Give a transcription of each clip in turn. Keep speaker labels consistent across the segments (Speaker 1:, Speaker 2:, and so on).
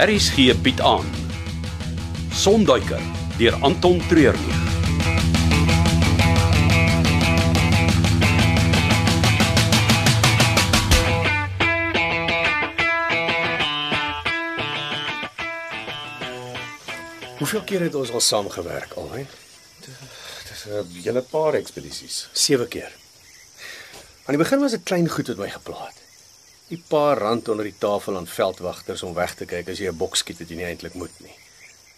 Speaker 1: RSG bied aan Sonduiker deur Anton Treurnig.
Speaker 2: Hoeveel keer het ons al saamgewerk al, hè?
Speaker 3: Dis 'n hele Ehm, paar ekspedisies.
Speaker 2: Sewe keer. Aan die begin was dit klein goed wat my gepla het. Die paar rand onder die tafel aan veldwagters om weg te kyk as jy 'n bok skiet wat jy nie eintlik moet nie.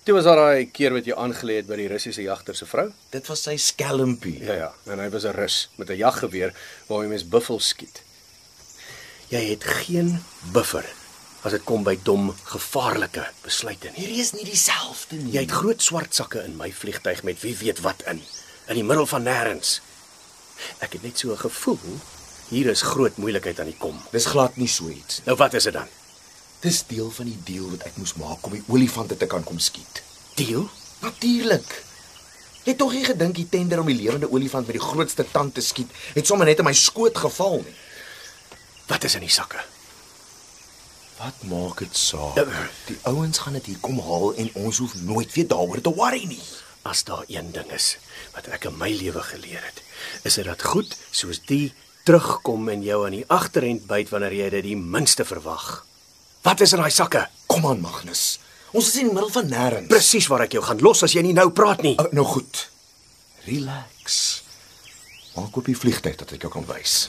Speaker 2: Toe was daar daai keer wat jy aangelê het by die Russiese jagter se vrou?
Speaker 3: Dit was sy skelmpie.
Speaker 2: Ja ja, en hy was 'n Rus met 'n jaggeweer waarmee mens buffels skiet. Jy het geen buffer as dit kom by dom, gevaarlike besluite nie.
Speaker 3: Hierdie is nie dieselfde nie.
Speaker 2: Jy het groot swart sakke in my vliegtyg met wie weet wat in, in die middel van nêrens. Ek het net so 'n gevoel hier is groot moeilikheid aan die kom.
Speaker 3: Dis glad nie so iets.
Speaker 2: Nou wat is dit dan?
Speaker 3: Dis deel van die deal wat ek moes maak om die olifante te kan kom skiet.
Speaker 2: Deal?
Speaker 3: Natuurlik. Jy het tog nie gedink die tender om die lewende olifant met die grootste tand te skiet het sommer net in my skoot geval nie.
Speaker 2: Wat is in die sakke?
Speaker 3: Wat maak dit saak?
Speaker 2: Eh,
Speaker 3: Nou, Die ouens gaan dit hier kom haal en ons hoef nooit weer daaroor te worry nie.
Speaker 2: As daar een ding is wat ek in my lewe geleer het, is dit dat goed soos die terugkom en jou aan die agterend byt wanneer jy dit die minste verwag. Wat is in daai sakke?
Speaker 3: Kom aan Magnus. Ons is in die middel van nêrens.
Speaker 2: Presies waar ek jou gaan los as jy nie nou praat nie.
Speaker 3: Oh, nou goed. Relax. Maak op die vliegtyg dat ek jou kan wys.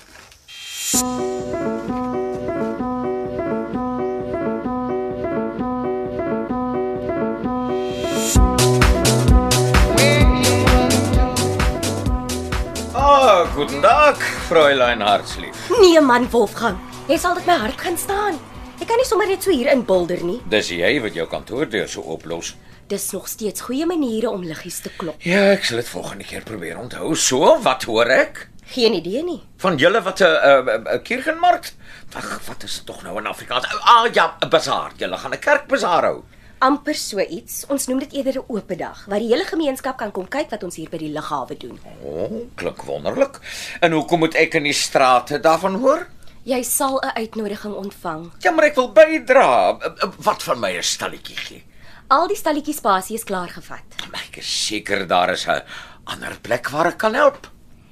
Speaker 4: Ah, guten Tag, Fräulein Hartslief.
Speaker 5: Nee man Wolfgang, jy sal dit my hart gaan staan. Ek kan nie sommer net so hier inbolder nie.
Speaker 4: Dis jy wat jou kantoordeur so oplos.
Speaker 5: Dis nog steeds goeie maniere om liggies te klop.
Speaker 4: Ja, ek sal dit volgende keer probeer onthou. So, wat hoor ek?
Speaker 5: Geen idee nie.
Speaker 4: Van julle wat 'n uh, uh, kerkenmark? Wag, wat is dit tog nou in Afrikaans? Ah ja, 'n bazaar. Julle gaan 'n kerkbazaar hou.
Speaker 5: Amper so iets. Ons noem dit eerder 'n oop dag waar die hele gemeenskap kan kom kyk wat ons hier by die lughawe doen.
Speaker 4: O, oh, klink wonderlik. En hoekom moet ek in die strate daarvan hoor?
Speaker 5: Jy sal 'n uitnodiging ontvang.
Speaker 4: Ja, maar ek wil bydra. Uh, uh, Wat van my 'n stalletjie gee?
Speaker 5: Al die stalletjie spasie is klaar gevat.
Speaker 4: Maar Ek is seker daar is 'n ander plek waar ek kan help.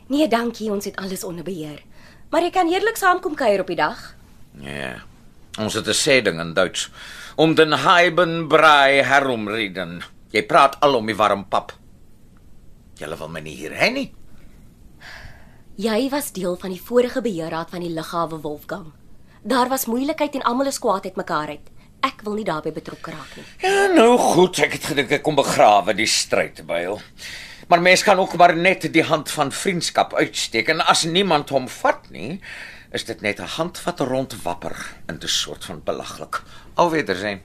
Speaker 5: Nee, dankie, ons het alles onder beheer. Maar jy kan heerlik saamkom kuier op die dag.
Speaker 4: Ja. Ons het 'n sê ding in Duits. Om den heiben brei herumreden. Jy praat al om die warm pap. Julle wil my nie hier hê nie.
Speaker 5: Jy was deel van die vorige beheerraad van die lughawe Wolfgang. Daar was moeilikheid en almal is kwaad uit mekaar uit. Ek wil nie daarbey betrokke raak nie.
Speaker 4: Ja, nou goed, ek het gedink ek kom begrawe die stryd by hom. Maar mens kan ook maar net die hand van vriendskap uitsteek en as niemand hom vat nie, is dit net 'n hand wat rondwapper in 'n soort van belaglik. Alweer sien.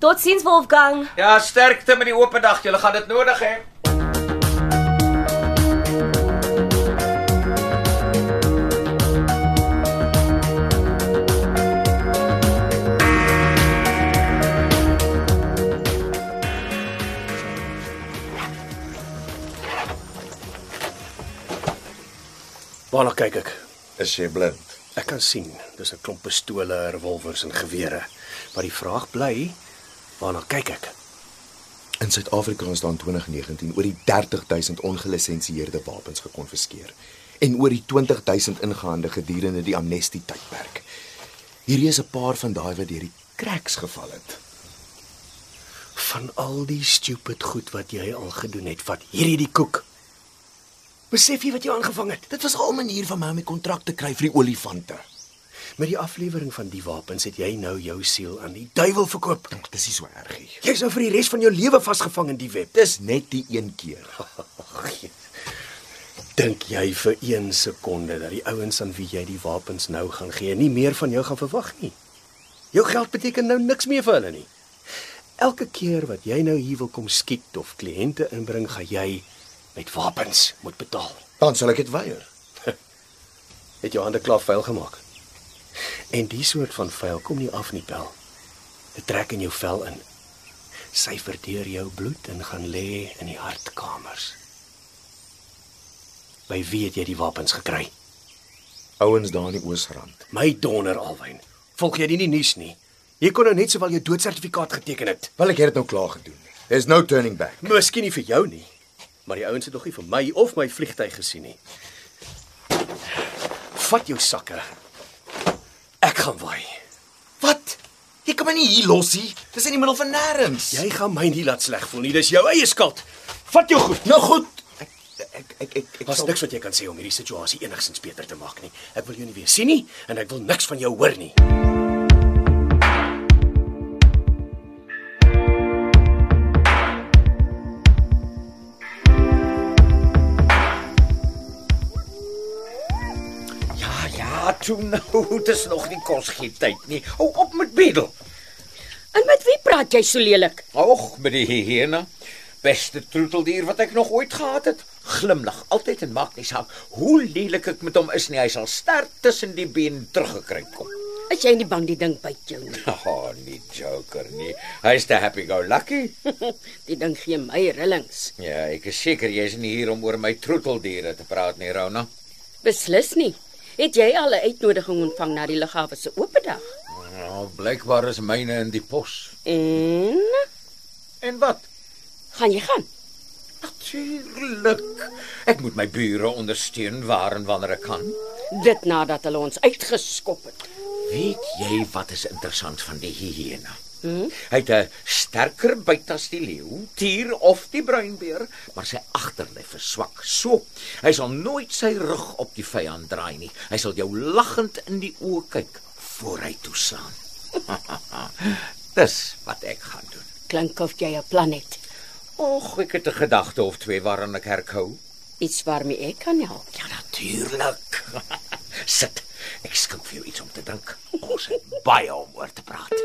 Speaker 5: Totsiens Wolfgang.
Speaker 4: Ja, sterkte met die oop dag. Julle gaan dit nodig hê.
Speaker 2: Waarna kyk ek?
Speaker 3: Is jy blind?
Speaker 2: Ek kan sien, dis 'n klomp pistole, revolvers en gewere. Maar die vraag bly, waarna kyk ek?
Speaker 3: In Suid-Afrika is daar in 2019 oor die 30000 ongelisensieerde wapens gekonfiskeer en oor die 20000 ingehandel gedurende die amnestie tydperk. Hierdie is 'n paar van daai wat deur die cracks geval het.
Speaker 2: Van al die stupid goed wat jy al gedoen het, vat hierdie die koek. Besef jy wat jy aangevang het?
Speaker 3: Dit was al 'n manier van my om 'n kontrak te kry vir die olifante.
Speaker 2: Met die aflewering van die wapens het jy nou jou siel aan die duiwel verkoop.
Speaker 3: Dis nie so erg nie.
Speaker 2: Jy's nou vir die res van jou lewe vasgevang in die web.
Speaker 3: Dis net die een keer.
Speaker 2: Dink jy vir 1 sekonde dat die ouens aan wie jy die wapens nou gaan gee, nie meer van jou gaan verwag nie? Jou geld beteken nou niks meer vir hulle nie. Elke keer wat jy nou hier wil kom skiet of kliënte inbring, gaan jy met wapens moet betaal.
Speaker 3: Dan sal ek dit weier.
Speaker 2: Het jou hande klaar vuil gemaak. En die soort van vuil kom nie af nie, Bel. Dit trek in jou vel in. Sy verdeur jou bloed en gaan lê in die hartkamers. By wie het jy die wapens gekry?
Speaker 3: Ouens daar in die Oosrand.
Speaker 2: My donder alwyn. Volg jy dit nie nuus nie? Jy kon nou net sowel jou doodsertifikaat geteken het.
Speaker 3: Wel ek het dit nou klaar gedoen. There's no turning back.
Speaker 2: Miskien nie vir jou nie, maar die ouens het nog nie vir my of my vliegtyg gesien nie. Vat jou sakke. Ek gaan waai.
Speaker 3: Wat? Jy kan my nie hier los nie. Dis in die middel van nêrens.
Speaker 2: Jy gaan my nie laat sleg voel nie. Dis jou eie skuld. Vat jou goed.
Speaker 3: nou goed. Ek ek ek ek, ek
Speaker 2: Daar's
Speaker 3: sal-
Speaker 2: niks wat jy kan sê om hierdie situasie enigsins beter te maak nie. Ek wil jou nie weer sien nie en ek wil niks van jou hoor nie.
Speaker 4: Ja, ja, toe nou, dit is nog nie kosgietyd nie. Hou op met bedel.
Speaker 6: En met wie praat jy so lelik?
Speaker 4: Och, met die hyena. Beste troeteldier wat ek nog ooit gehad het. Glimlag altyd en maak nie saak hoe lelik ek met hom is nie, hy sal sterk tussen die been teruggekruip kom.
Speaker 6: Is jy nie bang die ding byt jou nie?
Speaker 4: Ag, oh, nie joker nie. Hy's te happy go lucky.
Speaker 6: Die ding gee my rillings.
Speaker 4: Ja, ek is seker jy's nie hier om oor my troeteldiere te praat nie, Rona.
Speaker 6: Beslis nie. Het jy al 'n uitnodiging ontvang na die lughawe se oopdag?
Speaker 4: Nou, blykbaar is myne in die pos.
Speaker 6: En
Speaker 4: En wat?
Speaker 6: gaan jy gaan?
Speaker 4: Natuurlik. Ek moet my bure ondersteun waar en wanneer ek kan.
Speaker 6: Dit nadat hulle ons uitgeskop het.
Speaker 4: Weet jy wat is interessant van die hyena? Hmm? Hy het 'n sterker byt as die leeu, tier of die bruinbeer, maar sy agterlyf is swak. So, hy sal nooit sy rug op die vyand draai nie. Hy sal jou lagend in die oë kyk voor hy toeslaan. Dis wat ek gaan doen.
Speaker 6: Klink of jy 'n plan het.
Speaker 4: Och, ek het 'n gedagte of twee waaraan ek herkou.
Speaker 6: Iets waarmee ek kan help.
Speaker 4: Ja, natuurlik. Sit. Ek skink vir jou iets om te drink. Ons het baie om oor te praat.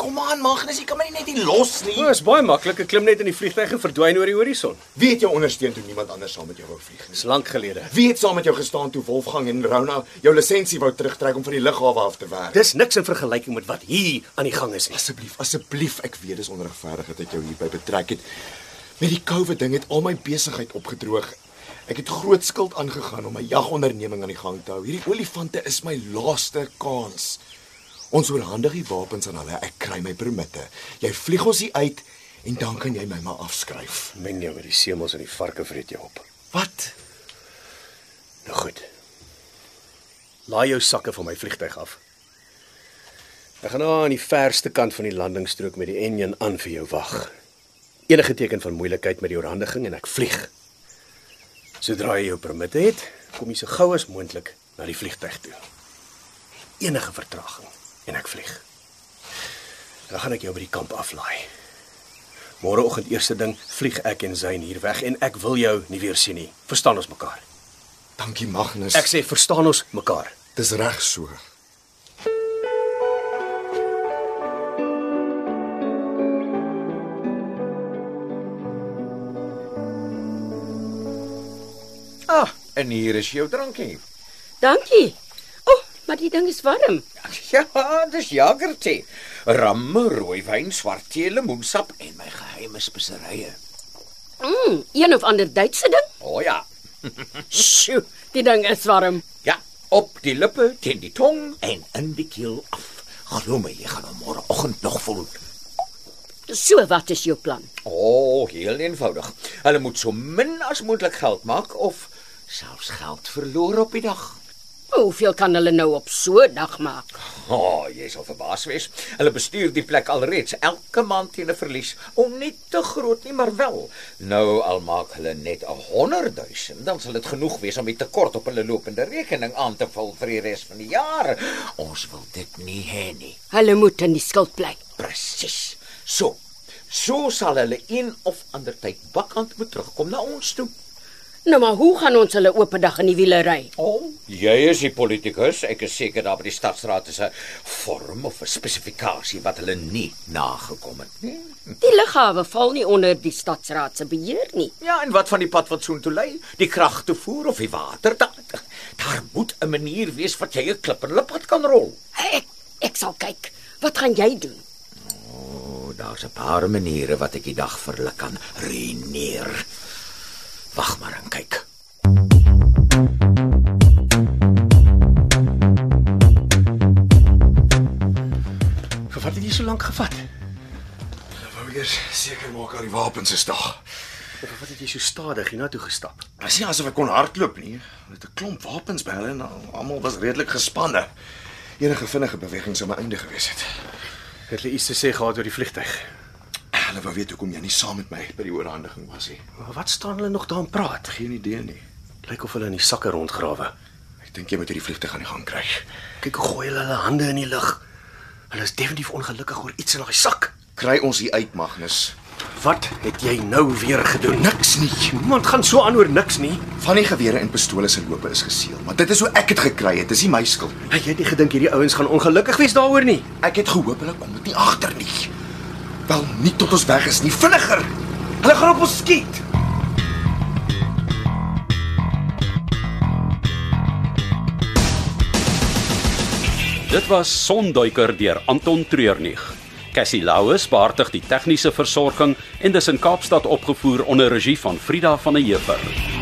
Speaker 3: Kom aan, Magnus, jy kan my nie net hier los nie.
Speaker 2: is baie maklik. Ek klim net in die vliegtyg en verdwyn oor die horison.
Speaker 3: Weet jy ondersteun toe niemand anders saam met jou wou vlieg nie.
Speaker 2: Dis lank gelede.
Speaker 3: Weet saam met jou gestaan toe Wolfgang en Rona jou lisensie wou terugtrek om van die lughawe af te werk.
Speaker 2: Dis niks in vergelyking met wat hier aan die gang is nie.
Speaker 3: asseblief, asseblief, ek weet dis onregverdig dat ek jou hierby betrek het. Met die COVID ding het al my besigheid opgedroog. Ek het groot skuld aangegaan om my jagonderneming aan die gang te hou. Hierdie olifante is my laaste kans. Ons oorhandig die wapens aan hulle. Ek kry my permitte. Jy vlieg ons hier uit en dan kan jy my maar afskryf.
Speaker 2: Meng jou met die seemels en die varke vreet jou op.
Speaker 3: Wat?
Speaker 2: Nou goed. Laai jou sakke van my vliegtyg af. Ek gaan na aan die verste kant van die landingsstrook met die enjin aan vir jou wag. Enige teken van moeilikheid met die oorhandiging en ek vlieg. Sodra jy jou permit het, kom jy so gou as moontlik na die vliegtyg toe. Enige vertraging en ek vlieg. Dan gaan ek jou by die kamp aflaai. Môreoggend eerste ding vlieg ek en Zayn hier weg en ek wil jou nie weer sien nie. Verstaan ons mekaar?
Speaker 3: Dankie Magnus.
Speaker 2: Ek sê verstaan ons mekaar.
Speaker 3: dis reg so.
Speaker 4: Ah, en hier is jou drankie.
Speaker 6: Dankie. O, oh, maar die ding is warm.
Speaker 4: Ja, dis jagertee. Ram, rooiwyn, swart tee, lemoensap en my geheime speserye.
Speaker 6: Mm, een of ander Duitse ding.
Speaker 4: O oh, ja.
Speaker 6: Sjoe, die ding is warm.
Speaker 4: Ja, op die lippe, teen die tong en in die keel af. Glo my, jy gaan hom môreoggend nog voel.
Speaker 6: So wat is jou plan?
Speaker 4: O, oh, heel eenvoudig. Hulle moet so min as moontlik geld maak of selfs geld verloor op die dag.
Speaker 6: Hoeveel kan hulle nou op so 'n dag maak?
Speaker 4: O, oh, jy sal verbaas wees. Hulle bestuur die plek alreeds elke maand teen 'n verlies, om nie te groot nie, maar wel. Nou al maak hulle net 'n 100 000, dan sal dit genoeg wees om die tekort op hulle lopende rekening aan te vul vir die res van die jaar. Ons wil dit nie hê nie.
Speaker 6: Hulle moet in die skuld bly.
Speaker 4: Presies. So. So sal hulle een of ander tyd bakkant moet terugkom na ons toe.
Speaker 6: Nou maar hoe gaan ons hulle oop dag in die wiele ry?
Speaker 4: O, oh, jy is die politikus. Ek is seker daar by die stadsraad is 'n vorm of 'n spesifikasie wat hulle nie nagekom het nie.
Speaker 6: Die lughawe val nie onder die stadsraad se beheer nie.
Speaker 4: Ja, en wat van die pad wat soontoe lei? Die krag te voer of die water? Daar, daar moet 'n manier wees wat jy 'n klipperlippad kan rol.
Speaker 6: Ek ek sal kyk. Wat gaan jy doen?
Speaker 4: O, oh, daar's 'n paar maniere wat ek die dag vir hulle kan reëneer. Wag maar en kyk.
Speaker 7: Vir wat het jy so lank gevat?
Speaker 3: Wou eers seker maak al die wapens is daar.
Speaker 7: Vir wat het jy so stadig hiernatoe gestap?
Speaker 3: Dit is nie asof ek kon hardloop nie. Hulle het 'n klomp wapens by hulle en al- almal was redelik gespanne. Enige vinnige beweging sou my einde gewees het.
Speaker 7: Het hulle iets te sê gehad oor die vliegtyg?
Speaker 3: Hulle wou weet hoekom jy nie saam met my by die oorhandiging was nie.
Speaker 7: Maar Wat staan hulle nog daar en praat?
Speaker 3: Geen idee nie.
Speaker 7: Lyk of hulle in die sakke rondgrawe.
Speaker 3: Ek dink jy moet hierdie vliegtuig aan die gang kry.
Speaker 7: Kyk hoe gooi hulle hulle hande in die lug. Hulle is definitief ongelukkig oor iets in daai sak.
Speaker 3: Kry ons hier uit, Magnus.
Speaker 7: Wat het jy nou weer gedoen?
Speaker 3: Niks nie.
Speaker 7: Niemand gaan so aan oor niks nie.
Speaker 3: Van die gewere en pistole se lope is geseël, maar dit is hoe ek dit gekry het. Dis nie my skuld nie.
Speaker 7: Hey, jy het nie gedink hierdie ouens gaan ongelukkig wees daaroor nie.
Speaker 3: Ek het gehoop hulle kom dit nie agter nie. Wel, nie tot ons weg is nie. Vinniger. Hulle gaan op ons skiet.
Speaker 2: Dit was Sonduiker deur Anton Treurnig. Cassie Louws beheerdig die tegniese versorging en dis in Kaapstad opgevoer onder regie van Frida van der Heever.